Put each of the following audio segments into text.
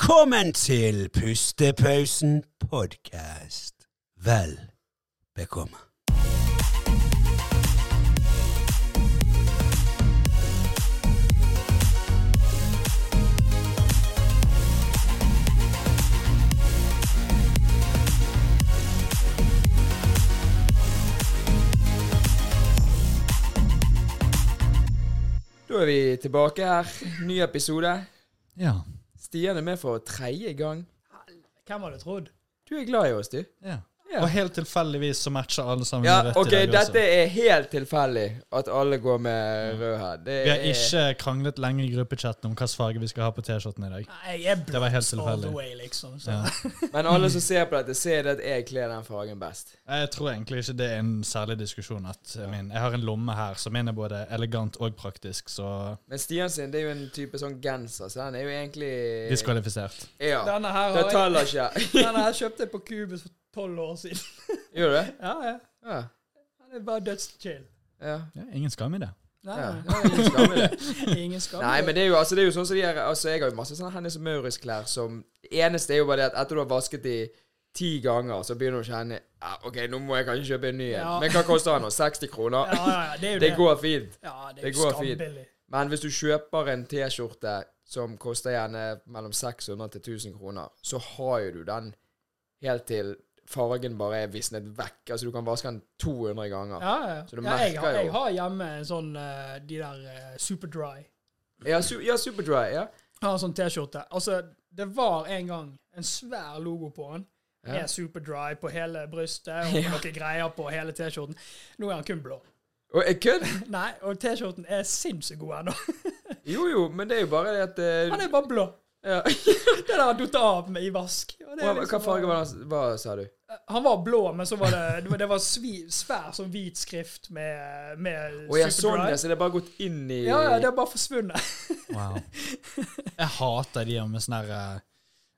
Velkommen til Pustepausen podkast. Vel bekomme. Da er vi tilbake her. Ny episode. Ja. Stian er med for tredje gang. Hvem hadde trodd? Du er glad i oss, du. ja. Ja. Og helt tilfeldigvis så matcher alle sammen Ja, rødt OK, i dag dette også. er helt tilfeldig at alle går med rød her. Det Vi har er ikke kranglet lenge i gruppechatten om hvilken farge vi skal ha på T-skjorten i dag. Nei, jeg er Det var helt blåst all the tilfeldig. way, liksom. Så. Ja. Men alle som ser på dette, ser at jeg kler den fargen best. Jeg tror egentlig ikke det er en særlig diskusjon. at jeg, min, jeg har en lomme her som min er både elegant og praktisk, så Men Stian sin det er jo en type sånn genser, så den er jo egentlig diskvalifisert. Ja. Denne her Det har jeg, teller ikke. denne her kjøpte jeg på Cubus for tolv år siden. Gjør du det? Ja, ja. Ja. Han er bare dødschill. ja. Ja, ingen skam i det. Nei, Ja. nei, Ja, ingen skam i det. ingen skam. Nei, men det er jo, altså, det er jo sånn som de her Altså, jeg har jo masse sånne Hennes Maurits-klær som Det eneste er jo bare det at etter du har vasket de ti ganger, så begynner du å kjenne ja, OK, nå må jeg kanskje kjøpe en ny en. Ja. Men hva koster den nå? 60 Ja, kroner? ja, ja, det er jo Det det. går fint. ja, det er det jo går fint. skambillig. Men hvis du kjøper en T-skjorte som koster gjerne mellom 600 til 1000 kroner, så har jo du den helt til fargen bare er visnet vekk. Altså du kan vaske den 200 ganger. Ja, ja. Så du ja jeg, merker har, jo. jeg har hjemme en sånn eh, de der eh, Superdry. Ja, su ja Superdry. Ja. Jeg har en sånn T-skjorte. Altså, det var en gang en svær logo på den. Ja. Med Superdry på hele brystet og noen greier på hele T-skjorten. Nå er han kun blå. Og jeg kødd? Nei, og T-skjorten er sinnssykt god ennå. Jo jo, men det er jo bare det at eh, Han er bare blå. ja. Det der har datt av med i vask. Og det er Hva liksom hva farge var den, hva sa du? Han var blå, men så var det det var- Det var svi, svær sånn hvit skrift med, med Å ja, sånn Superdry. ja, så det er bare gått inn i ja, ja, det har bare forsvunnet. Wow. Jeg hater de med sånn her eh,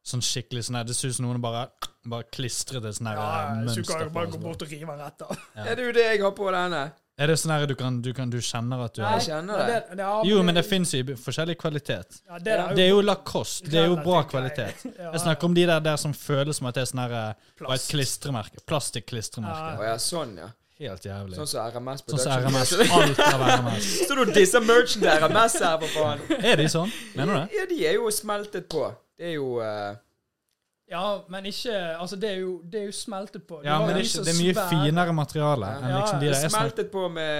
Sånn skikkelig sånn her Det ser ut som noen bare, bare klistret et sånn her eh, Ja, så du mønster kan jo på. bare gå oss bort bare. og rive den rett av. Ja, det er jo det jeg har på denne. Er det sånn her du kan, du kan Du kjenner at du Nei. er kjenner men det. ja, Jo, men det fins jo i forskjellig kvalitet. ja, det, der Det er jo Lacoste. Det er jo bra relativt kvalitet. grei. Ja, Jeg snakker om de der, der som føles som at det er sånn her eh, bare et Plast. klistremerke. Plastikklistremerke. Å ja, sånn ja. Helt jævlig. Sånn som RMS Sånn som Production. RMS. Alt av RMS. Så du disser merchen til RMS her, for faen. Er de sånn? Mener du det? Ja, de er jo smeltet på. Det er jo eh, ja, men ikke Altså, det er jo, det er jo smeltet på. Du Ja, har men det er, jo ikke, så det er mye svære- finere materiale enn Ja, liksom de det er der. Jeg snakker, smeltet på med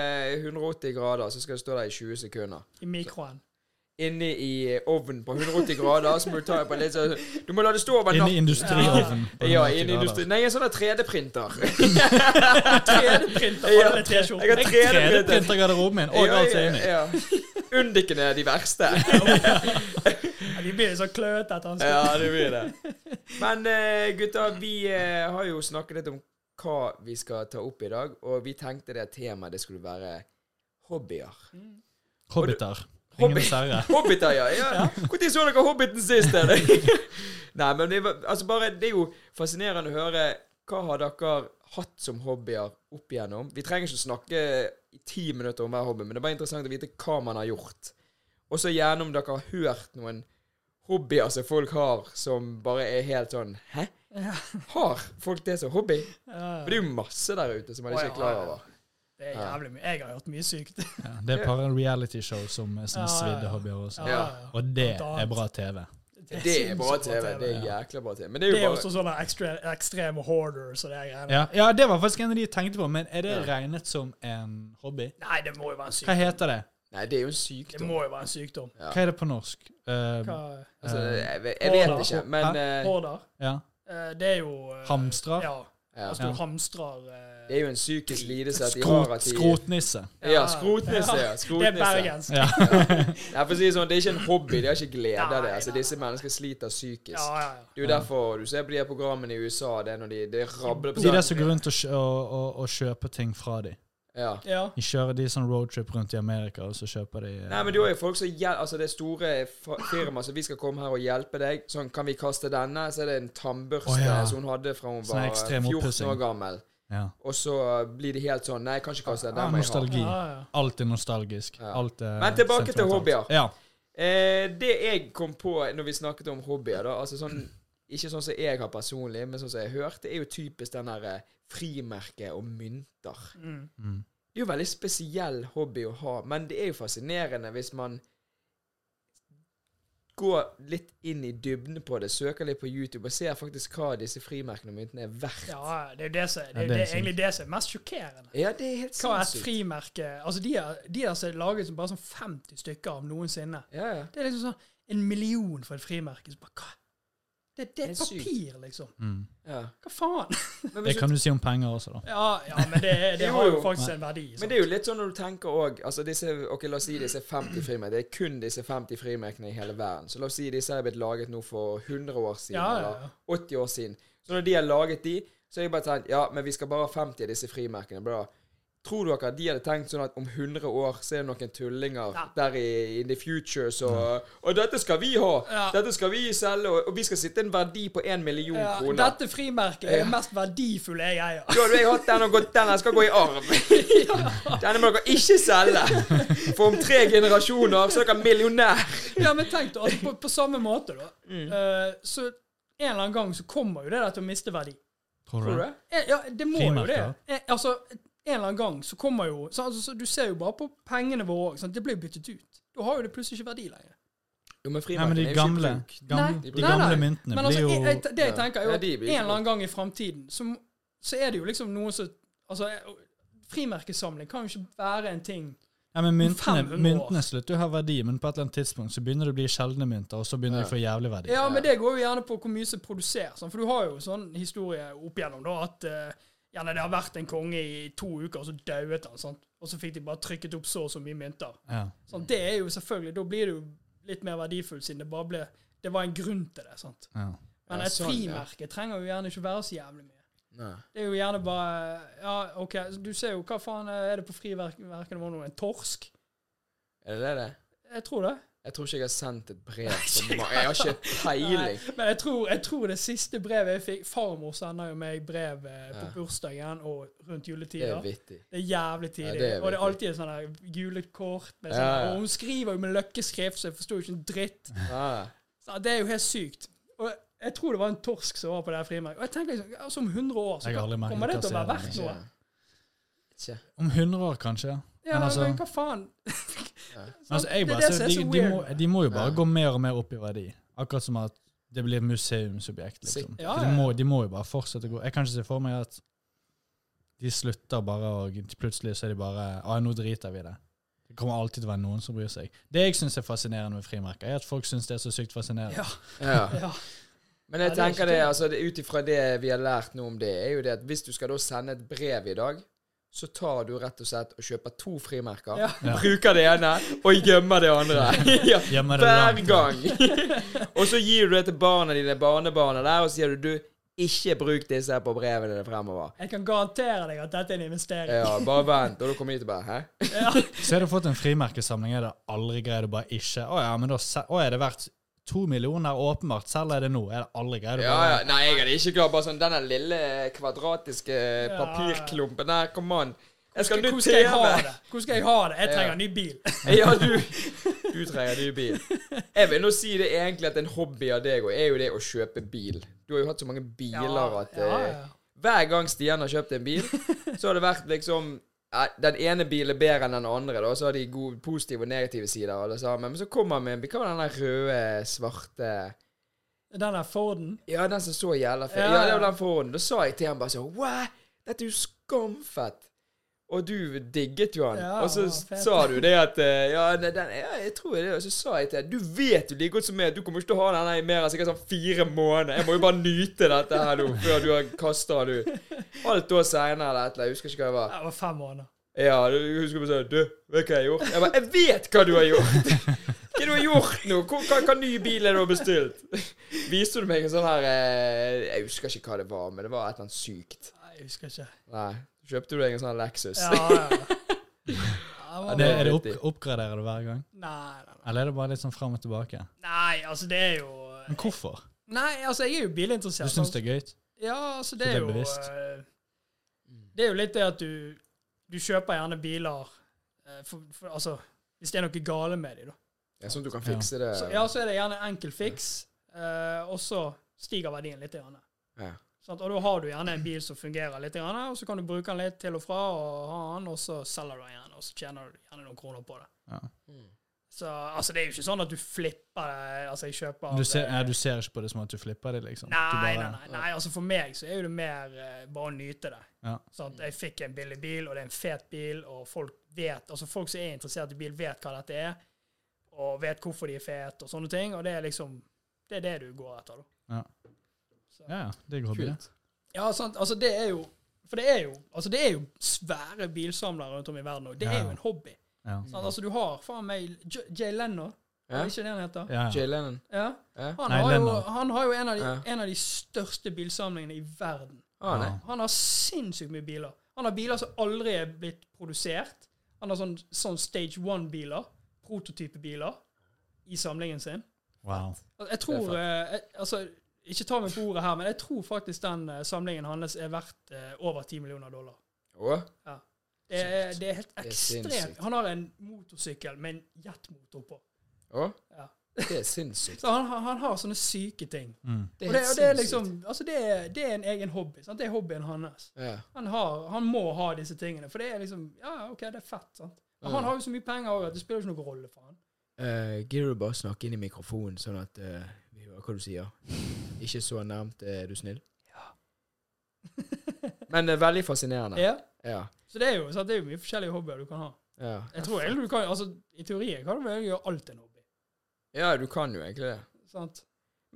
180 grader, så skal det stå der i 20 sekunder. I mikroen. Inne i ovnen på 180 grader, så må du ta på litt sånn Du må la det stå over inne i natten. industriovnen. Ja, inne i industri... Nei, en sånn der 3D-printer. 3D-printer på Ja. alle Jeg har T-skjortene. 3D-printer. 3D-printer garderoben min, og Ja, alt er ja, inni. ja. Undiken er de verste. Ja, De blir jo så altså. kløete etter han skal Ja, det blir det. Men eh, gutta, vi eh, har jo snakket litt om hva vi skal ta opp i dag, og vi tenkte det temaet det skulle være hobbyer. Hobbiter. Hobby- Ingen serre. Hobbiter, ja. ja. Når så dere Hobbiten sist? er det? Nei, men det, var- altså bare, det er jo fascinerende å høre hva har dere hatt som hobbyer opp igjennom. Vi trenger ikke snakke i ti minutter om hver hobby, men det er bare interessant å vite hva man har gjort. Og så gjerne om dere har hørt noen hobbyer som folk har, som bare er helt sånn Hæ? Har folk det som hobby? Ja, For det er jo masse der ute som man Å, ikke ja, er klar ja. over. Det er Ja. jævlig mye. Jeg har gjort mye sykt. Ja, det er et par realityshow som, som Ja, svidde ja. hobbyer også. Ja. Og det er bra TV. Det er bra sinnssykt TV. Det er jækla bra TV. Men det er Det er jo også bare sånne ekstre, ekstreme hoarders og det greiene. Ja. ja, det var faktisk en av de jeg tenkte på, men er det Ja. regnet som en hobby? Nei, det må jo være en Hva sykdom. heter det? Nei, det er jo en Det sykdom. må jo være en sykdom. Ja. Hva er det på norsk? Eh, Hva, Altså, Eh, jeg, ve- jeg vet Hårda. ikke, men eh, hoarder? ja. Eh, Det er jo eh, Hamstrer? Ja. ja. Altså, Ja. du hamstrer eh, Det er jo en psykisk lidelse at de har Skrot, at de skrotnisse. Ja, skrotnisse. Ja. Det er skrotnisse. bergensk. Ja. Nei, for å si det sånn, det er ikke en hobby, de har ikke glede av det. Nei, Altså, nei, disse menneskene sliter psykisk. Ja, ja, ja. Det er jo derfor du ser på de her programmene i USA, det er når de det rabler på De der sånn. som går rundt og, kjø- og, og, og kjøper ting fra dem. Ja. ja. De kjører de sånn roadtrip rundt i Amerika, og så kjøper de eh, Nei, men du har jo folk som hjel... Altså, det er store fa- firma som vi skal komme her og hjelpe deg. Sånn, kan vi kaste denne? Så er det en tannbørste Å, ja. som hun hadde fra hun Sånn var ekstrem 14 oppussing. år gammel. ja. Og så blir de helt sånn Nei, jeg kan ikke kaste den. Ja, Den må jeg ha. nostalgi. ja, ja. Alt er nostalgisk. Ja. Alt er Men tilbake til sentimentalt. hobbyer. Ja. Eh, det jeg kom på når vi snakket om hobbyer, da, altså sånn, ikke sånn som jeg har personlig, men sånn som jeg har hørt, det er jo typisk den der eh, frimerke og mynter. Mm. Mm. Det er jo en veldig spesiell hobby å ha, men det er jo fascinerende hvis man går litt inn i dybden på det, søker litt på YouTube og ser faktisk hva disse frimerkene og myntene er verdt. Ja, det er jo det Ja, som, det, det er er det, er sykt. egentlig det som er mest sjokkerende. Ja, det er helt Hva er et sinnssykt. frimerke? Altså, de er, de er altså laget som bare sånn 50 stykker av noensinne. Ja, ja. Det er liksom sånn en million for et frimerke. Så bare, hva? Det, det er Det er sykt. papir, liksom. Mm. ja. Hva faen? Men, Det hvis kan du, du si om penger også, da. Ja, ja men det, det Jo, har jo jo. faktisk en verdi. men det er jo litt sånn når du tenker òg altså disse, Ok, la oss si disse 50 frimerkene. Det er kun disse 50 frimerkene i hele verden. Så la oss si disse er blitt laget nå for 100 år siden, ja, ja, eller ja. 80 år siden. Så når de har laget de, så har jeg bare tenkt Ja, men vi skal bare ha 50 av disse frimerkene. Bra. Tror dere de hadde tenkt sånn at om 100 år så er det noen tullinger Ja. der i in the future så Og dette skal vi ha! Ja. Dette skal vi selge! Og, og vi skal sitte en verdi på 1 million Ja, kroner. dette frimerket er det mest verdifulle jeg eier. Da hadde jeg hatt den og gått Den her skal gå i arv. Denne må dere ikke selge. For om tre generasjoner så er dere millionær. Ja, men tenk da, altså, på, på samme måte, da. eh, så en eller annen gang så kommer jo det der til å miste verdi. Tror Tror du du det? det? Eh, Ja, det må jo Frimerker, det. da. Eh, Altså, en eller annen gang så kommer jo så, altså, så, Du ser jo bare på pengene våre òg. Det blir jo byttet ut. Da har jo det plutselig ikke verdi lenger. Jo, men Nei, men frimerkene de er jo ikke gamle, bruk. gamle, Nei, de nei, gamle nei. myntene Men altså, blir jeg, jo jeg, det jeg tenker, er jo Ja, at de en blir ikke eller annen gang i framtiden så, m- så er det jo liksom noe som Altså, eh, frimerkesamling kan jo ikke være en ting Nei, men myntene, 500 år. myntene slutter jo å ha verdi, men på et eller annet tidspunkt så begynner det å bli sjeldne mynter, og så begynner de å få jævlig verdi. Ja, men det går jo gjerne på hvor mye som er produsert. Sånn. For du har jo sånn historie opp igjennom da, at eh, gjerne det har vært en konge i to uker, og så dauet han. Sånn. Og så fikk de bare trykket opp så og så mye mynter. Ja. Mm. Sånn. Det er jo selvfølgelig, Da blir det jo litt mer verdifullt, siden det bare ble Det var en grunn til det. sant? Ja. Men Ja, et sånn, ja. frimerke trenger jo gjerne ikke være så jævlig mye. Nei. Det er jo gjerne bare Ja, OK, du ser jo hva faen er det på frimerkene våre nå? En torsk? Er det det det? er? Jeg tror det. Jeg tror ikke jeg har sendt et brev til ma- Jeg har ikke peiling. Nei, men jeg tror, jeg tror det siste brevet jeg fikk Farmor sender jo meg brev eh, på Ja. bursdagen og rundt Det er juletider. vittig. Det er jævlig tidlig. Ja, det er og det er vittig. alltid et sånt der julekort. Med Ja, sånn, ja. Og hun skriver jo med løkkeskrift, så jeg forstår jo ikke en dritt. Ja. Så det er jo helt sykt. Og jeg tror det var en torsk som var på det her frimerket. Og jeg tenker liksom, altså om 100 år så Jeg har aldri merket kommer det til å hva være serien verdt er. noe. Ikke. Om 100 år, kanskje. Ja, Men men, altså- hva faen? Men altså, jeg Det er bare, ser- det som er så de, de, weird. må, de må jo bare Ja. gå mer og mer opp i verdi. Akkurat som at det blir museumsobjekt, liksom. Ja, For ja. de, må, de må jo bare fortsette å gå. Jeg kan ikke se for meg at de slutter bare, og plutselig så er de bare Ja, nå driter vi i det. Det kommer alltid til å være noen som bryr seg. Det jeg syns er fascinerende med frimerker, er at folk syns det er så sykt fascinerende. Ja. Ja. Ja. Men jeg Ja, det er tenker det, ikke det. altså ut ifra det vi har lært nå om det, er jo det at hvis du skal da sende et brev i dag, så tar du rett og slett og kjøper to frimerker, Ja. Ja. bruker det ene og gjemmer det andre. ja, Gjemmer det hver langt. gang. og så gir du det til barna dine, barnebarna der, og så sier du du, ikke bruk disse her på brevene dine fremover. Jeg kan garantere deg at dette er en investering. Ja, bare vent, og da kommer de tilbake. Hæ? Så har du fått en frimerkesamling, er det aldri greit å bare ikke Å ja, men da se- å, er det verdt to millioner, åpenbart. Selger jeg det nå, er det aldri greit å Ja, bare ja. Nei, jeg hadde ikke klart bare sånn denne lille kvadratiske papirklumpen der, kom an. Jeg skal Hvor nytt skal jeg ha TV. det? Hvor skal jeg ha det? Jeg trenger Ja. en ny bil. Ja, du, du trenger ny bil. Jeg vil nå si det egentlig at en hobby av deg også er jo det å kjøpe bil. Du har jo hatt så mange biler at ja, eh, ja. hver gang Stian har kjøpt en bil, så har det vært liksom eh, den ene bilen er bedre enn den andre, da, så har de gode, positive og negative sider. Alle sammen. Men så kommer han med en bil. Hva var den der røde, svarte Den der Forden Ja, den som så jævla fet Ja. Ja, det var den foran. Da sa jeg til han bare sånn Wow, dette er jo skamfett. Og du digget jo han. Ja, og så han var fet. sa du det at eh, Ja, den, den, ja jeg tror det. Og så sa jeg til han Du vet jo like godt som meg at du kommer ikke til å ha den her i mer enn sikkert sånn fire måneder. Jeg må jo bare nyte dette her nå, før du har kastet den ut. Halvt år seinere eller et eller annet. Jeg husker ikke hva det var. Det var fem måneder. Ja, du jeg husker bare sånn Du, vet du hva jeg har gjort? Jeg bare Jeg vet hva du har gjort! Hva du har gjort nå? Hva, hva, hva ny bil er det du har bestilt? Viste du meg en sånn her eh, Jeg husker ikke hva det var, men det var et eller annet sykt. Nei, jeg husker ikke. Nei. Kjøpte du deg en sånn Lexus? Ja, ja, ja. Ja, Det det, var- Er det opp, riktig. oppgraderer du hver gang? Nei, nei, nei. Eller er det bare litt sånn fram og tilbake? Nei, altså, det er jo Men hvorfor? Nei, altså, jeg er sånn jo bilinteressert. Du syns sant? det er gøy? Ja, altså, Så det det er er jo bevisst? eh, Det er jo litt det at du Du kjøper gjerne biler eh, for, for, Altså, hvis det er noe gale med dem, da. Det er sånn at du kan fikse det. Så, ja, så er det gjerne enkel fiks, eh, og så stiger verdien litt. Grann. Ja. Sant? Og da har du gjerne en bil som fungerer litt, grann, og så kan du bruke den litt til og fra, og ha den, og så selger du den igjen, og så tjener du gjerne noen kroner på det. Ja. Så altså, det er jo ikke sånn at du flipper det. Altså, jeg kjøper Du, ser, ja, du ser ikke på det som at du flipper det, liksom? Nei, du nei, nei, nei. Altså for meg så er jo det mer eh, bare å nyte det. Ja. Sånn at jeg fikk en billig bil, og det er en fet bil, og folk vet, altså folk som er interessert i bil, vet hva dette er, og vet hvorfor de er fet, og sånne ting. Og det er liksom Det er det du går etter, da. Ja, ja, det går bra. Kult. Ja, sant. Altså, det er jo For det er jo altså det er jo svære bilsamlere rundt om i verden, og det er Ja. jo en hobby. Ja. Sant? Altså, du har faen meg J- Jay Leno, Ja. er det ikke det han heter? Ja, ja. Jay Lennon. Ja. Ja. Han, Nei, har jo, Leno. han har jo en av de, Ja. en av de største bilsamlingene i verden. Ah, nei. Ja. Han har sinnssykt mye biler. Han har biler som aldri er blitt produsert. Han har sånn, sånn stage one-biler, prototypebiler, i samlingen sin. Wow. Altså, jeg tror eh, jeg, Altså, ikke ta meg på ordet her, men jeg tror faktisk den eh, samlingen hans er verdt eh, over 10 millioner dollar. Åh, Det er, det er helt er ekstremt. sinnssykt. Han har en motorsykkel med en jetmotor på. åh. Ja. Det er sinnssykt. Så han, har- han har sånne syke ting. Mm. Og det, og det er helt liksom sinnssykt. Altså, det er, det er en egen hobby. Sant? Det er hobbyen hans. Ja. Han, har, han må ha disse tingene, for det er liksom Ja, OK, det er fett, sant. Men han har jo så mye penger også at det spiller jo ikke noen rolle for han. Uh, Gidder du bare snakke inn i mikrofonen, sånn at eh, vi hører hva du sier? Ikke så nærmt, eh, er du snill? Men eh, veldig fascinerende. Ja. Ja. Så det er jo, så det er jo mye forskjellige hobbyer du kan ha. Ja. Jeg tror egentlig du kan, altså I teorien kan du vel gjøre alt en hobby. ja, du kan jo egentlig det. sant?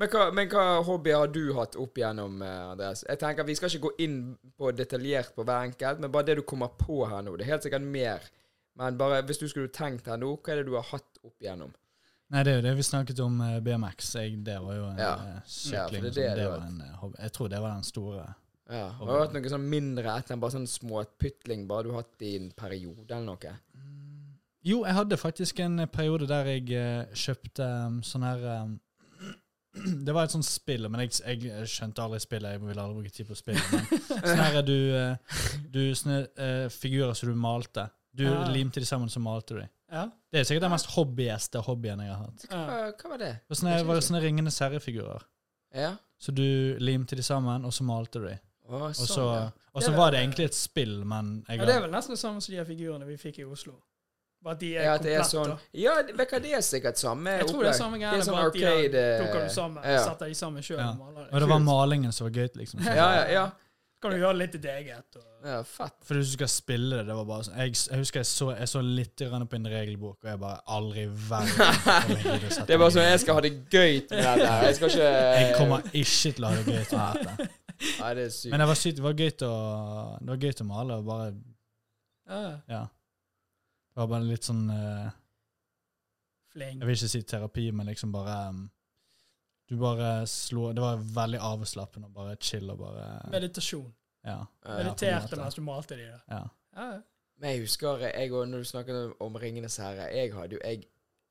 Men hva, men hva hobbyer har du hatt opp igjennom, eh, Andreas? Jeg tenker Vi skal ikke gå inn på detaljert på hver enkelt, men bare det du kommer på her nå. Det er helt sikkert mer. Men bare hvis du skulle tenkt her nå, hva er det du har hatt opp igjennom? Nei, det er jo det vi snakket om eh, BMX. Jeg, det var jo en Ja. eh, Ja, for sykling. det er som- det det det var var. en eh, hobby. Jeg tror det var den store. Ja, Har du hatt noe sånn mindre etter bare sånn småpytling bare du har hatt i en periode eller noe? Jo, jeg hadde faktisk en eh, periode der jeg eh, kjøpte um, sånn her um, Det var et sånt spill, men jeg, jeg skjønte aldri spillet. Jeg ville aldri bruke tid på spillet. Men sånn her er du, eh, du sånne eh, figurer som du malte. Du Ja. limte de sammen, så malte du de. Ja. Det er sikkert den mest hobbyeste hobbyen jeg har hatt. ja. Hva, hva var det? Det var sånne, var sånne Ringenes herre-figurer. Ja? Så du limte de sammen, og så malte du de. Å, Og sånn, så, ja. og så Det er var vel- det egentlig et spill, men jeg ja, Det er vel nesten det samme som de her figurene vi fikk i Oslo. Bare at de er Ja, at det er komplette. sånn Ja, det- vet du hva, det er sikkert samme Jeg tror det er samme Det greiene, er sånn bare at de der arcade plukker du sammen, ja. setter de sammen sjøl Ja. og maler Og det. det var malingen som var gøy, liksom. Ja, ja, ja. Så kan du gjøre litt til ditt eget. Og, ja fett. For hvis du skal spille det, det var bare sånn Jeg, jeg husker jeg så, jeg så litt grann på en regelbok, og jeg bare aldri i verden kommer jeg til å sette Det er bare meg sånn eh, inn i Jeg skal ha det gøy med det der. Jeg skal ikke Jeg kommer ikke til å ha det gøy til dette. Nei, det er sykt. Men det var sykt, det var gøy til å, det var gøy til å male, og bare ja, Ja. Det var bare litt sånn eh, fling. Jeg vil ikke si terapi, men liksom bare um, Du bare slo Det var veldig avslappende og bare chill og bare Meditasjon. Ja. Ja, ja. Mediterte måte. mens du malte de der. ja. Ja, ja. Eh, Men jeg husker jeg og når du snakket om Ringenes herre Jeg hadde jo Jeg,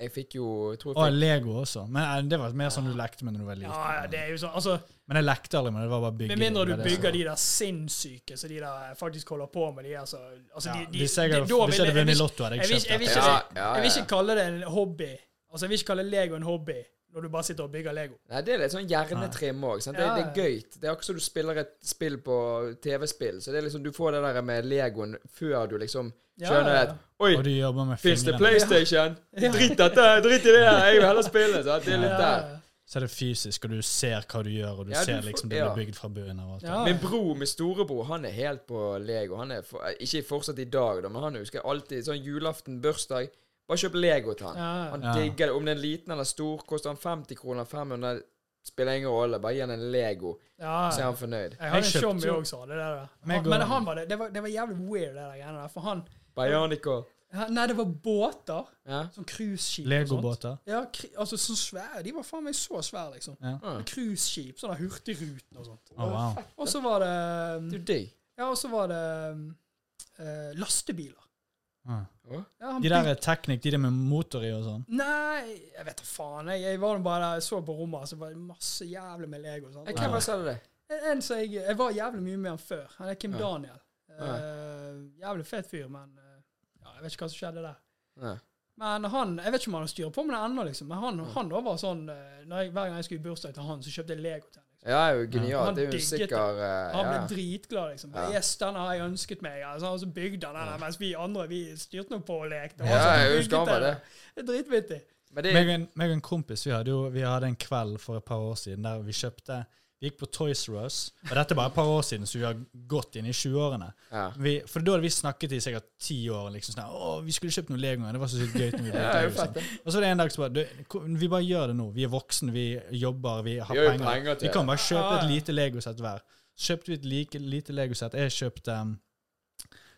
jeg fikk jo jeg tror Og jeg fikk, Lego også. Men eh, det var mer sånn du lekte med når du var liten. ja, ja, det er jo sånn. Altså, Men jeg lekte aldri med det. det var bare bygge Med mindre du det var det som- bygger de der sinnssyke, så de der eh, faktisk holder på med de altså, altså Ja, de, de, Hvis jeg hadde- da hvis vil jeg hadde vunnet i jeg- jeg vil- Lotto, hadde jeg jeg vil- kjøpt jeg vil det. ikke- ja, ja, Jeg vil ikke ja. kalle det en hobby. Altså, jeg vil ikke kalle Lego en hobby når du bare sitter og bygger Lego. Nei, det er litt sånn hjernetrim òg. Det, Ja, det ja. er gøy. Det er akkurat som du spiller et spill på TV-spill. Så det er liksom Du får det der med Legoen før du liksom Ja, skjønner ja, at Oi, Og du jobber med fins det fingrene. PlayStation? Drit dette! Drit i det! her, Jeg vil heller spille! Sant? Det er litt Ja, der. Så er det fysisk, og du ser hva du gjør, og du Ja, du ser får- liksom det blir ja. bygd fra bunnen av. og alt det. Ja. Min bror, min storebror, han er helt på Lego. Han er for, ikke fortsatt i dag, da, men han husker alltid sånn julaften, bursdag Bare kjøp Lego til han. Ja. Han Ja. digger det. Om den er liten eller stor, koster han 50 kroner, 500 Spiller ingen rolle. Bare gi han en Lego, ja. så er han fornøyd. Jeg hadde Jeg en kjøpte showmy jo- òg, sa det der. da. Men jeg Han, men går- han var det, det, var, det var jævlig weird, det der greiene der. For han Bionico. han- Nei, det var båter. Ja. Sånn cruiseskip. og sånt. Legobåter. Ja, kri- altså så svære. De var faen meg så svære, liksom. Ja. Mm. Cruiseskip, sånne Hurtigruten og sånt. Å, wow. Og så var det Du digg. Ja, og så var det um, eh, lastebiler. Ah. Ja, han De der bygde- er teknikk, de der med motor i og sånn. Nei, jeg vet da faen. Jeg, jeg var nå bare der, jeg så på rommet, så var det masse jævlig med Lego. Sant? Eh, Og Hvem var det sa det? en- En som jeg, jeg var jævlig mye med han før. Han er Kim Ja. Daniel. Ja. Eh, jævlig fet fyr, men eh, ja, jeg vet ikke hva som skjedde der. Ja. Men han, jeg vet ikke om han har styr på med det ennå, liksom. men han, han da var sånn eh, når jeg, Hver gang jeg skulle i bursdag til han, så kjøpte jeg Lego til han. Liksom. Ja, det er jo genialt. Han Det er jo digget det. sikker eh, Han ja. ble dritglad, liksom. Ja. Yes, den har jeg ønsket meg. Altså, og så bygde han den, der, mens vi andre vi styrte nå på og lekte. Ja, jeg husker han var det. Det er dritvittig. Men det Meg og en, meg og en kompis vi hadde jo vi hadde en kveld for et par år siden der vi kjøpte Vi gikk på Toys R Us, og dette er bare et par år siden, så vi har gått inn i 20-årene. ja. Vi, for da hadde vi snakket i sikkert ti år. liksom sånn, Å, vi skulle kjøpt noe Lego. Det var så sykt gøy. når vi ble Ja, det er jo Lego, fett, liksom. Og så var det en dag så bare du, ko- Vi bare gjør det nå. Vi er voksne, vi jobber, vi har Vi har jo penger. penger til Ah. vi kan bare kjøpe Ja, ja. et lite Lego-sett hver. Så kjøpte vi et like, lite Lego-sett. Jeg kjøpte um,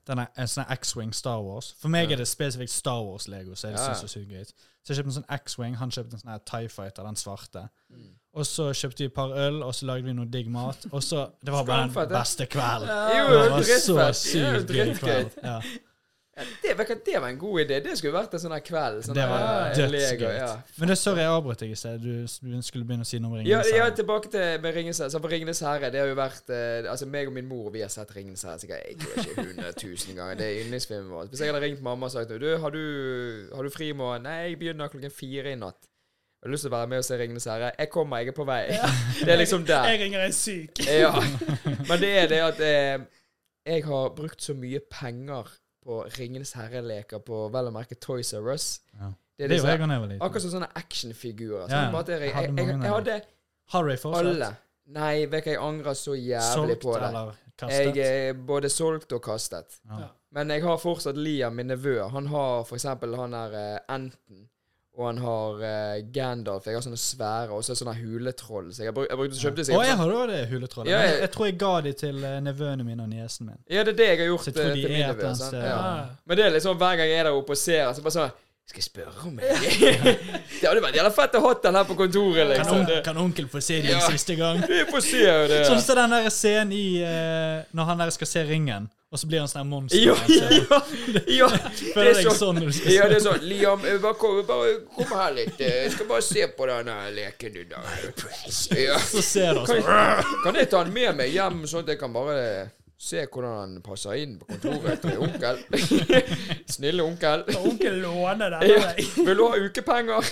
denne, en sånn X-Wing Star Wars. For meg Ja. er det spesifikt Star Wars-Lego, så jeg Ja, ja. synes det er sykt gøy. Så jeg kjøpte en sånn X-Wing, han kjøpte en sånn her Tie Fighter, den svarte. Mm. Og så kjøpte vi et par øl, og så lagde vi noe digg mat. Og så Det var bare Skål for den det. beste kvelden. Jo, Det var dritfett. så Det er jo sykt gøy dritgøy. kveld. Ja. Ja, det, vet du hva, det var en god idé. Det skulle vært en sånn her kveld. Sånn Det var her, ja, Lego, dødsgøy. Ja. Men det sorry, jeg avbrøt deg i sted. Du, du skulle begynne å si noe om Ja, Ringenes ja, herre. tilbake til med Ringenes herre. Så For Ringenes herre, det har jo vært eh, Altså, meg og min mor, vi har sett Ringenes herre sikkert jeg tror ikke 100 000 ganger. Det er yndlingsfilmen vår. Hvis jeg hadde ringt mamma og sagt du, har du, har du fri i morgen? Nei, jeg begynner klokken fire i natt. Jeg har lyst til å være med og se Ringenes herre. Jeg kommer, jeg er på vei. Det er liksom der. Jeg ringer en syk. Ja. Men det er det at eh, jeg har brukt så mye penger på Ringenes herre-leker på vel å merke Toys R Us. Ja. Det er Det disse- gjorde jeg da jeg var liten. Akkurat som sånne actionfigurer. Ja, Sånn, på en måte, jeg, jeg hadde jeg, jeg, mange jeg av hadde dem. Har Ray fortsatt? alle. Nei, vet du hva, jeg angrer så jævlig Solgt på det. eller kastet? Jeg er både solgt og kastet. Ja. Men jeg har fortsatt Liam, min nevø. Han har for eksempel han er eh, Enten. Og han har eh, Gandalf. Jeg har sånne svære, og så sånne huletroll. Så jeg har brukt, jeg brukte, kjøpte Å, sikkert jeg har også det huletrollet. Ja, Men jeg- jeg, jeg tror jeg ga de til eh, nevøene mine og niesen min. Ja, det er det jeg har gjort Så jeg eh, tror de til min er et eller nevø. annet sant? sted. Ja. Ah, Ja. Men det er liksom hver gang jeg er der oppe og ser, så bare sånn Skal jeg spørre om meg? det hadde vært jævla fett å ha den her på kontoret, Kan, liksom. on, Det- kan onkel få se det Ja. en siste gang? Vi får se jo det. Sånn som den der scenen i eh, Når han der skal se ringen, og så blir han sånn her monster. Ja, Så ja, ja. Det Føler er deg sånn. sånn når du skal Ja, det er sånn. Liam, eh, bare kom, bare kom her litt. eh, Jeg skal bare se på den her leken du da. Ja. så ser du Kan også. jeg, kan jeg ta den med meg hjem, sånn at jeg kan bare se hvordan han passer inn på kontoret til onkel? Snille onkel. Og onkel låner den. Ja. av deg. Vil du ha ukepenger?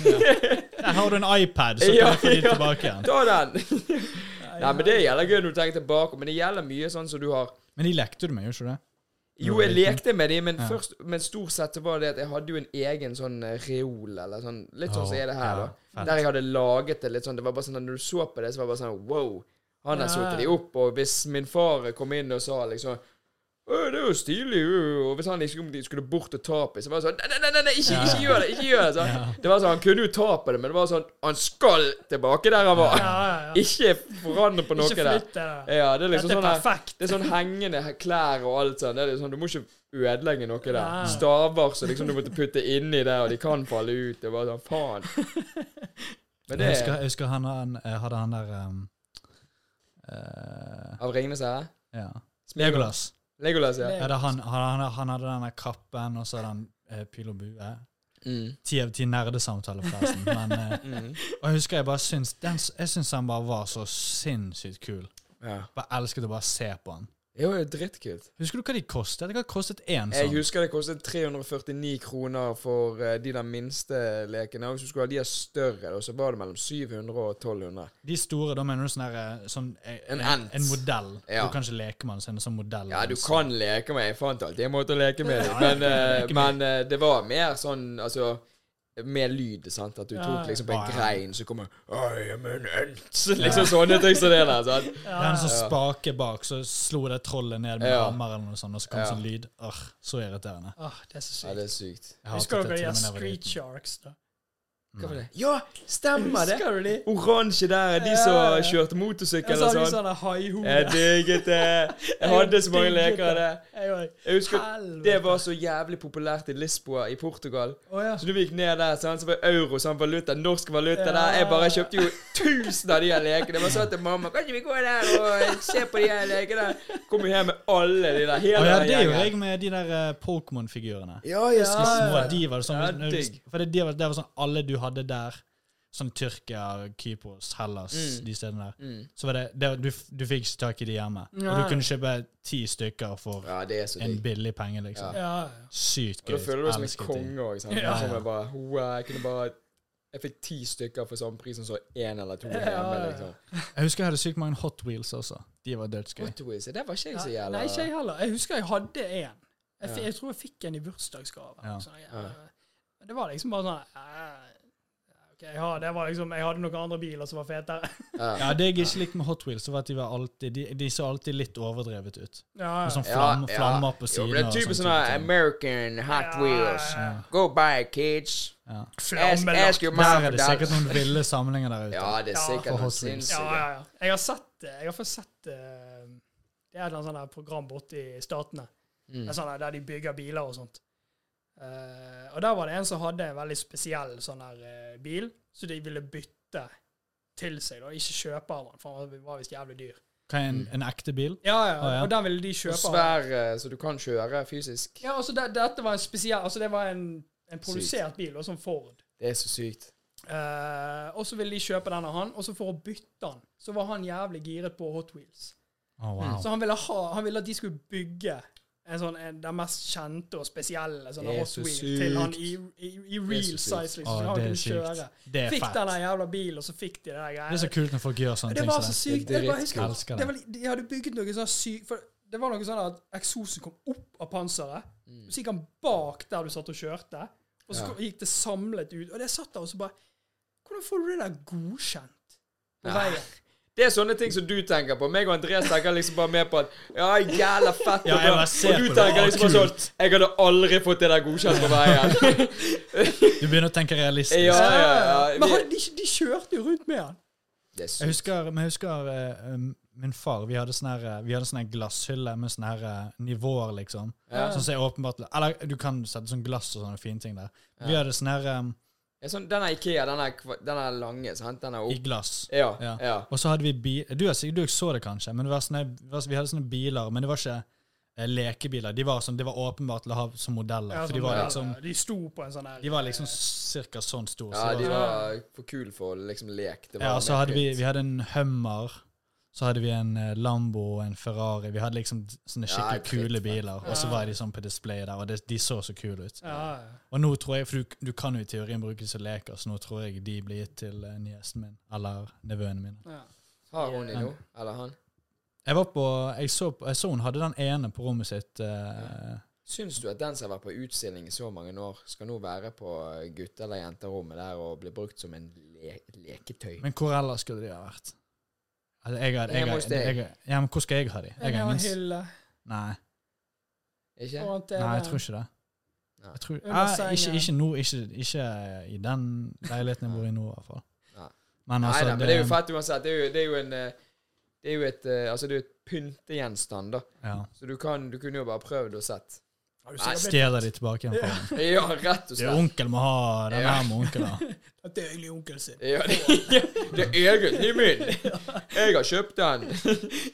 Der har du en iPad, så kan Ja, du få de ja. tilbake igjen. Ta den! Nei, men det gjelder gøy når du tenker tilbake, men det gjelder mye sånn som du har Men de lekte du med, gjorde du ikke det? Jo, Når jeg du var liten. lekte med de, men, Ja. først, men stort sett så var det at jeg hadde jo en egen sånn eh, reol, eller sånn Litt sånn som er det her, Ja, da. fett. Der jeg hadde laget det litt sånn. Det var bare sånn at når du så på det, så var det bare sånn wow. Han har Ja. satt de opp, og hvis min far kom inn og sa liksom «Øy, det er jo stilig, øy», og hvis han liksom skulle bort og ta på det, så var det sånn Nei, nei, nei, nei, nei ikke, Ja. ikke gjør det! ikke gjør Det sånn. Det var sånn, Han kunne jo ta på det, men det var sånn Han skal tilbake der han var! Ja, ja, ja. Ikke forandre på noe Ikke der. flytt det der. Ja, det er liksom Dette er sånn her, perfekt. Det er sånn hengende he- klær og alt sånn. Det er sånn, du må ikke ødelegge noe der. Nei. Staver som liksom du måtte putte inni der, og de kan falle ut. Det er bare sånn, faen. Men det Jeg husker, jeg husker han, han eh, hadde han der um, eh, Av Ringenes herre? ja. Smeagol. Legolas. Legolas, ja. Ja, det er han, han, han, han hadde den der kappen, og så hadde han eh, pil og bue. Mm. Ti av ti nerdesamtaler, forresten. Men, eh, Mm. og jeg husker jeg bare syns den, s- Jeg syns han bare var så sinnssykt kul. Ja. Bare elsket å bare se på han. Det var jo dritkult. Husker du hva de kostet? Det kan ha kostet én Jeg sånn. husker det kostet 349 kroner for eh, de der minste lekene. Og Hvis du skulle ha de der større, og så var det mellom 700 og 1200. De store, da mener du sånn der eh, sånn, eh, En en, ant. en modell? Ja. Du kan ikke leke med den, så en sånn modell. Ja, du kan leke med Jeg fant alltid en måte å leke med det. Ja, Men, eh, leke med. men eh, det var mer sånn Altså med lyd, sant. At du Ja, tok ja. liksom på en Ja, ja. grein, så kommer I am an ant. Liksom sånne ting som det der. sant? Det er en sånn Ja. spake bak, så slo det trollet ned med Ja. hammer eller noe sånt, og så kom Ja. sånn lyd. Ør, så irriterende. Åh, Ah, det er så Ja, sykt. det er sykt. Jeg Husker hatet til og med dere de der da jeg var Street liten. Sharks, da? Hva var Nei. det? Ja, stemmer det! Husker du de? Oransje der er de Ja, som ja, ja. kjørte motorsykkel Jeg sa eller de sånn. sånne haihode. Jeg digget det. Jeg hadde så mange digget leker av det. Jeg var- Jeg husker Helvete. det var så jævlig populært i Lisboa i Portugal. Å, ja. Så du gikk ned der, sant? så var euro sånn valuta, norsk valuta Ja. der. Jeg bare kjøpte jo tusen av de her lekene. Jeg bare sa til mamma kan ikke vi gå der og se på de her lekene. Kom jo her med alle de der. Å Hele ja, den det gjorde gjengen. jeg med de der eh, Pokémon-figurene. Ja, De ja, små, ja. de var det sånn Ja, digg. For det, de var, det var sånn alle du hadde der. sånn Tyrkia, Kypros, Hellas, Mm. de stedene der. Mm. Så var det, det du, f- du fikk ikke tak i de hjemme. Og Nei. du kunne kjøpe ti stykker for Ja, det er så en digg. billig penge, liksom. Ja. Ja, Sykt Og gøy. da føler du deg som en Elsket de. konge òg. Ja. Jeg bare «Wow, Jeg kunne bare Jeg fikk ti stykker for samme pris som så én eller to Ja, hjemme. ja. liksom. Jeg husker jeg hadde sykt mange Hot Wheels også. De var dødsgøy. Hot Wheels, det var ikke jeg ja. så ja. jævla Nei, ikke jeg heller. Jeg husker jeg hadde en. Jeg, fi- Ja. jeg tror jeg fikk en i bursdagsgave. eller Ja. noe sånt. Jeg- Ja. Men Det var liksom bare sånn eh, ok, ja, det var liksom, Jeg hadde noen andre biler som var fetere. Ja. Ja, Det jeg ikke likte med Hot Wheels, det var at de, var alltid, de, de så alltid litt overdrevet ut. Ja, Med ja. sånn flam, flammer på Jo, siden. men det er typisk sånn her American Hot Wheels. Ja. Go buy it, kids. Ja. Ask, ask Flammelagt. your Der mom er and det dad. sikkert noen ville samlinger der ute. Ja, det er Ja, sikkert for noen Hot Wheels. Ja, sinnssyke. ja, ja. Jeg har sett det. Jeg har fått sett eh, Det er et eller annet sånt der program borte i Statene Mm. Det er sånn der, der de bygger biler og sånt. Eh, og der var det en som hadde en veldig spesiell sånn der eh, bil, så de ville bytte til seg, da. Ikke kjøpe av den, for den var visst jævlig dyr. Hva er en, en ekte bil? Ja, ja, Å, ja. og den ville de Og kjøpe. av. svær, eh, så du kan kjøre fysisk. Ja, altså det, dette var en spesiell Altså det var en, en produsert bil, og sånn Ford. Det er så sykt. Eh, og så ville de kjøpe den av han, og så for å bytte den, så var han jævlig giret på Hot Wheels. Mm. Å, wow. Så han ville, ha, han ville at de skulle bygge en sånn, en, den mest kjente og spesielle sånn Det er Hot så Wheel sykt. til han i, i, i Det real er så sykt. size. Å, liksom, så han det er kunne kjøre. sykt. Det er Fikk fett. den der jævla bilen, og så fikk de det der Det er så greiene. kult når folk gjør sånne Det ting. som var så det. sykt. sånn Det er Jeg bare dritkult. husker, Elsker det det. var, li- de hadde bygget noe sånn sykt For det var noe sånn at eksosen kom opp av panseret, Mm. så gikk han bak der du satt og kjørte, og så Ja. kom- gikk det samlet ut. Og det satt der og så bare Hvordan får du det der godkjent på Ja. veien? Det er sånne ting som du tenker på. Meg og Andreas tenker liksom bare mer på at Ja, jævla fett. Ja, og jeg bra. bare ser og du på det. tenker Å, liksom bare sånn kult. Jeg hadde aldri fått det der godkjent på veien. Du begynner å tenke realistisk. Ja, ja, ja. Men Vi- han, de, de kjørte jo rundt med han. Det er Jeg sykt. husker, men jeg husker eh, um, min far. Vi hadde sånn her, eh, vi hadde sånn her glasshylle med sånne her eh, nivåer, liksom. Ja. Sånn som er åpenbart Eller du kan sette sånn glass og sånne fine ting der. Vi hadde sånn her um, Det er Sånn, den er Ikea, den er, kva- den er lange, sant? Den er eh, i opp. glass. Ja, Ja. ja. Og så hadde vi bil Du, har sikkert- du så det kanskje, men det var sånne, det var- vi hadde sånne biler, men det var ikke eh, lekebiler. De var, sånn, de var åpenbart til å ha som modeller, Ja, for de sånn var der, liksom De sto på en sånn der De var liksom cirka sånn store. Ja, så de det var, var for kule for liksom lek. Det var ja, og så mer hadde vi, kult. vi hadde en Hummer, så hadde vi en eh, Lambo og en Ferrari. Vi hadde liksom sånne Ja, skikkelig kule dritfett. biler, og så Ja. var de sånn på display der, og det, de så så kule ut. ja, ja. Og nå tror jeg, for du, du kan jo i teorien bruke som leker, så nå tror jeg de blir gitt til eh, niesen min, eller nevøene mine. ja. Har hun det nå? Eller han? Jeg var på, jeg så, jeg så hun hadde den ene på rommet sitt. eh, Syns du at den som har vært på utstilling i så mange år, skal nå være på gutte- eller jenterommet der og bli brukt som en le leketøy? men hvor ellers skulle de ha vært? Altså, jeg har, jeg, Hjemme har- hos jeg, deg. har- ja, men hvor skal jeg ha de? Jeg En har har ingen, hylle nei, Ikke? foran TV-en. nei, jeg tror ikke det. Nei. Jeg tror, Under eh, ikke, sengen. ikke nå, ikke, ikke eh, i den leiligheten jeg bor i nå, i hvert fall. Nei. Men Nei altså, da, men det er jo fett uansett. Det er jo, det er jo en eh, Det er jo et eh, Altså, det er jo et pyntegjenstand, da. Ja. Så du kan Du kunne jo bare prøvd og sett. Har du Nei, sikkert blitt- Stjeler de tilbake igjen fra meg. Ja, rett og Det er slett. onkel må ha den Ja. her med onkel, da. At det er egentlig onkel sin. Ja, det, ja, det er egentlig min! Jeg har kjøpt den!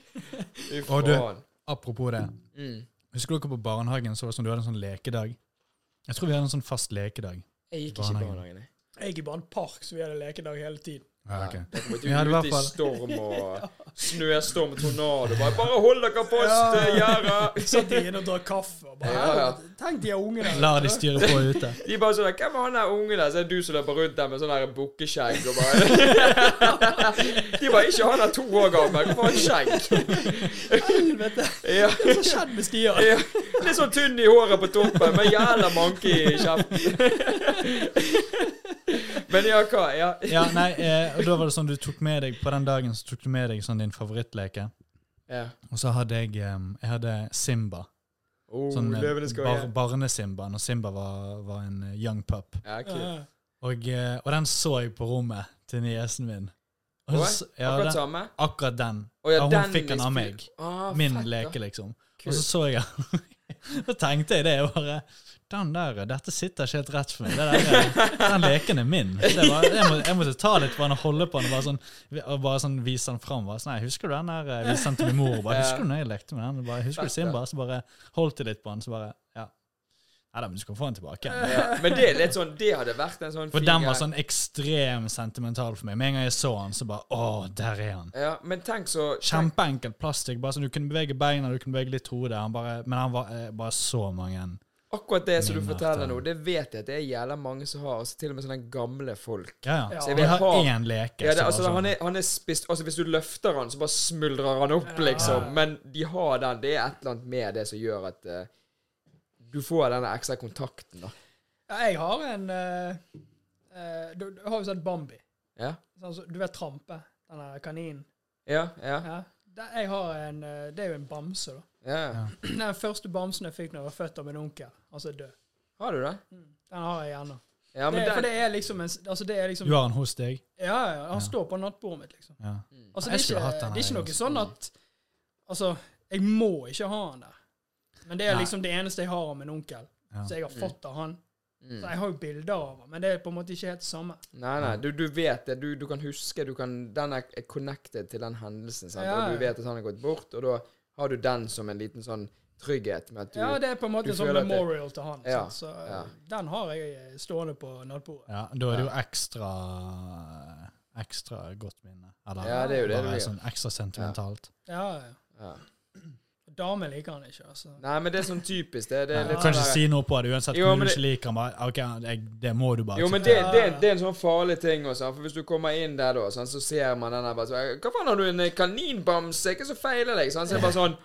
Fy Og du- faen. Apropos det. Mm. Husker dere på barnehagen så var det sånn, du hadde en sånn lekedag? Jeg tror vi hadde en sånn fast lekedag. Jeg gikk ikke i Barnehagen. barnehagen, jeg. Jeg gikk i bare en park, så vi hadde lekedag hele tiden. Ja, Nei, ok. dere måtte Vi hadde i jo hvert ut i fall- storm og snøstorm og tornado. Bare, bare hold dere fast, eh, gjerdet! Satt de inne og drakk kaffe. Og bare, Ja, ja. "Helvete, Tenk de er unge der. La de styre på ute. De bare sånn 'Hvem er han der unge der?' Så er det du som løper rundt der med sånn der bukkeskjegg og bare De bare 'Ikke han er to år gammel, hvorfor har han skjegg?' Helvete, Ja, hva som skjedde med Stian? ja. Litt sånn tynn i håret på toppen, men jævla manke i kjeften. Men ja, hva? Ja. Ja, nei, eh, og da var det sånn du tok med deg På den dagen så tok du med deg sånn din favorittleke. ja. Og så hadde jeg eh, Jeg hadde Simba. Oh, Sånn eh, løvene skal bar, hjem. barnesimba, når Simba var, var en eh, young pup. Ja, Ja, kult. ja. Og, eh, og den så jeg på rommet til niesen min. Og Oi, så- ja, Akkurat den, samme? akkurat den. Å ja, Ja, hun den fikk den av inspir- meg. Ah, Min fett, da. leke, liksom. Og så Kult. så jeg Da tenkte jeg det. Jeg bare Den der, dette sitter ikke helt rett for meg. Det der, eh, den leken er min. Det var, jeg, må, jeg måtte ta litt på den og holde på den og bare sånn, og bare sånn vise den fram. Bare sånn, nei, husker du den der eh, viste den til min mor? og Bare, Ja. husker du når jeg lekte med den? Og Bare, husker du Fett, da. Simba? Så bare holdt jeg litt på den, så bare Ja. Neida, men du skal få den tilbake. igjen. Ja. Men det er litt sånn Det hadde vært en sånn For fin den greie. var sånn ekstremt sentimental for meg. Med en gang jeg så han, så bare Å, der er han. Ja, men tenk så tenk, Kjempeenkelt plastikk. Bare sånn, Du kunne bevege beina, du kunne bevege litt hodet. Han bare, men han var eh, bare så mange. Akkurat det som du Minner forteller til- nå, det vet jeg at det er jævla mange som har. Altså, til og med sånne gamle folk. Ja, ja. Ja. Så jeg vil ha én leke. Ja, det, så altså, bare han, sånn. er, han er spist Altså, hvis du løfter han, så bare smuldrer han opp, Ja. liksom. Men de har den. Det er et eller annet med det som gjør at eh, du får denne ekstra kontakten, da. Ja, jeg har en eh, eh, du, du har jo sett Bambi. Ja. Sånn, som- du vet Trampe, den der kaninen. Ja, ja. Ja. Der, jeg har en, eh, det er jo en bamse, da. ja. Ja. Den første bamsen jeg fikk da jeg var født av min onkel. Altså død. Har du det? Den har jeg ennå. Ja, men det, for den, det er liksom en s- altså det er liksom, Du ja. har han hos deg? Ja, han Ja. står på nattbordet mitt, liksom. Ja. Altså, Jeg det er skulle ikke, hatt den det er her, ikke noe altså. sånn at Altså, jeg må ikke ha han der. Men det er Nei. liksom det eneste jeg har av min onkel. Ja. Så jeg har fått av han. Så mm. jeg har jo bilder av han, men det er på en måte ikke helt det samme. Nei, nei, du, du vet det. Du, du kan huske du kan, Den er connected til den hendelsen, sant? Ja, og ja. du vet at han har gått bort, og da har du den som en liten sånn trygghet med at du ja, det er på en måte du en sånn føler at det- memorial til han. Ja, sant? Så eh, ja. den har jeg eh, stående på nattbordet. Ja, da er det jo ekstra Ekstra godt minne. Eller Ja, det er jo det det bare blir. sånn ekstra sentimentalt. Ja, ja. Ja. Damer liker han ikke, altså. Nei, men det er sånn typisk. Det, det Ja, er du litt kan sånn ikke der- si noe på det uansett Jo, hvor men du det- ikke liker han. Bare, ok, jeg, det må du bare Jo, men det, akseptere. Ja. det, det er en sånn farlig ting også, sant? for hvis du kommer inn der da, sant, så ser man den der bare sånn, Hva faen har du en kaninbamse? Hva er det som feiler deg? Sant? Så er det bare sånn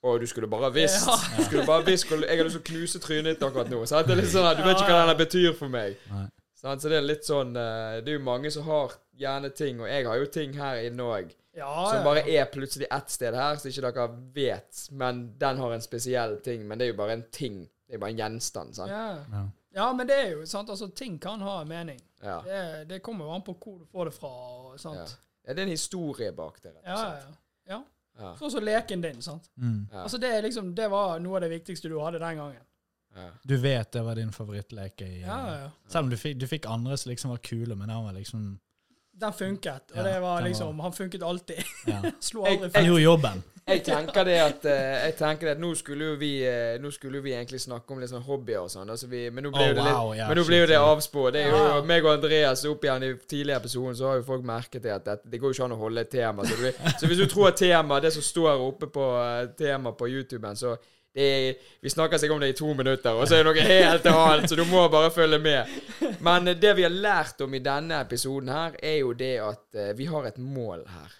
Å, du skulle bare visst. Ja. Du skulle bare visst hvor- Jeg har lyst til å knuse trynet ditt akkurat nå. Sant? Det er litt sånn, at du vet ikke hva den der betyr for meg. Nei. Sant? Så det er litt sånn eh, Det er jo mange som har gjerne ting, og jeg har jo ting her inne òg, Ja, som Ah, ja. bare er plutselig ett sted her, så ikke dere vet, men den har en spesiell ting. Men det er jo bare en ting. Det er bare en gjenstand. Sant? Ja. Ja. ja, men det er jo sant, altså ting kan ha en mening. Ja. Det, det kommer jo an på hvor du får det fra, og Ja. sant. Ja, det er en historie bak det, rett Ja, og ja. slett. ja. ja. Ja. Sånn som leken din, sant. Mm. Ja. Altså, det, er liksom, det var noe av det viktigste du hadde den gangen. Ja. Du vet det var din favorittleke. I, Ja, ja. Selv om du fikk, du fikk andre som liksom var kule, men han var liksom Den funket, og Ja, det var den var- liksom Han funket alltid. ja. Slo Jeg- aldri Han feil. gjorde jobben. Jeg tenker det at eh, Jeg tenker det at nå skulle jo vi eh, Nå skulle jo vi egentlig snakke om litt sånn hobbyer og sånn, altså vi, men nå ble Å, jo det litt Oh, wow, ja, Men nå ble jo det shit, ja. avspor. Det er jo meg og Andreas opp igjen i tidligere episoden, så har jo folk merket det at det, det går jo ikke an å holde et tema. Så, det, blir- så hvis du tror at tema, det som står oppe på eh, tema på YouTuben, så det er, vi snakker seg om det i to minutter, og så er det noe helt annet, så du må bare følge med. Men eh, det vi har lært om i denne episoden her, er jo det at eh, vi har et mål her.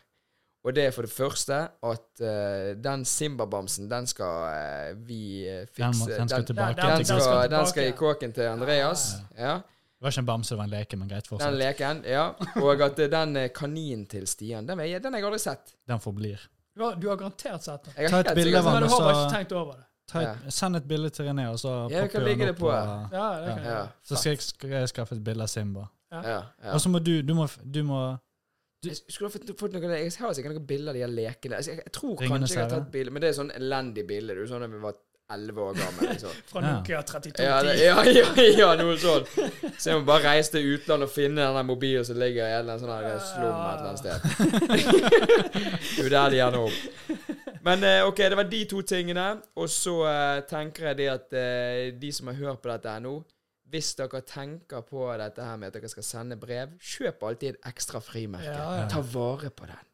Og det er for det første at eh, den Simba-bamsen, den skal eh, vi eh, Den, må, fikse. den skal tilbake. den- Den til den skal skal, den skal i tilbake. kåken til Andreas. Ja, Det var ikke en bamse, det var en leke, men greit, Den fortsett. leken. ja. Og at eh, den eh, kaninen til Stian, den, er- den har jeg aldri sett. Den forblir. Du har, du har garantert sett den. Jeg Ta har et helt bilde sikkert av sett Men han, og du har bare ikke så tenkt over det. ta et- Send et bilde til René, og så Ja, vi kan popper legge han det opp. på og- Ja, det kan den. Ja, jeg. Så skal jeg, skal jeg skaffe et bilde av Simba. ja, ja. Og så må du Du må, du må Jeg skulle ha fått, fått noe, jeg har sikkert noen bilder av de her lekene. Altså, jeg, jeg tror Ringenes kanskje jeg har herre. tatt bilde, men det er sånn elendig bilde. Det er jo sånn da vi var 11 år gamle. Liksom. Fra Ja. Nokia 3210. Ja, det, ja, ja, ja, noe sånn. Så jeg må bare reise til utlandet og finne den der mobilen som ligger i en eller annen sånn her slum et eller annet sted. Det er jo der de gjerne opp. Men eh, OK, det var de to tingene. Og så eh, tenker jeg det at eh, de som har hørt på dette her nå Hvis dere tenker på dette her med at dere skal sende brev, kjøp alltid et ekstra frimerke. Ja, ja. Ta vare på den.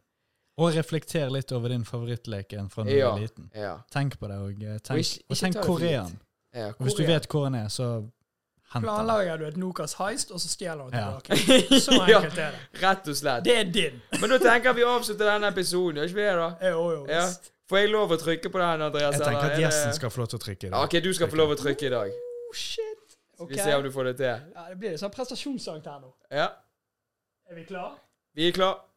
Og reflektere litt over din favorittleken fra da du Ja. var liten. Ja. Tenk på det, og eh, tenk, Og og ikke- ikke tenk ta det for gitt. Korean. ja Og hvis du Korea. vet hvor han er, så hent den. Planlegger du et Nokas heist, og så stjeler du Ja. tilbake. Så Ja. enkelt er det. Rett og slett. Det er din. Men nå tenker jeg vi avslutter denne episoden, gjør ikke vi det, da? Jo, jo. Ja. visst. Får jeg lov å trykke på den, Andreas? Jeg tenker eller er at altså, det- gjesten skal få lov til å trykke i Ja, dag. OK, du skal få lov å trykke i dag. Oh, shit. Skal Ok. Vi ser om du får det til. Ja, det blir litt sånn prestasjonsangst her nå. Ja. Er vi klare? Vi er klar.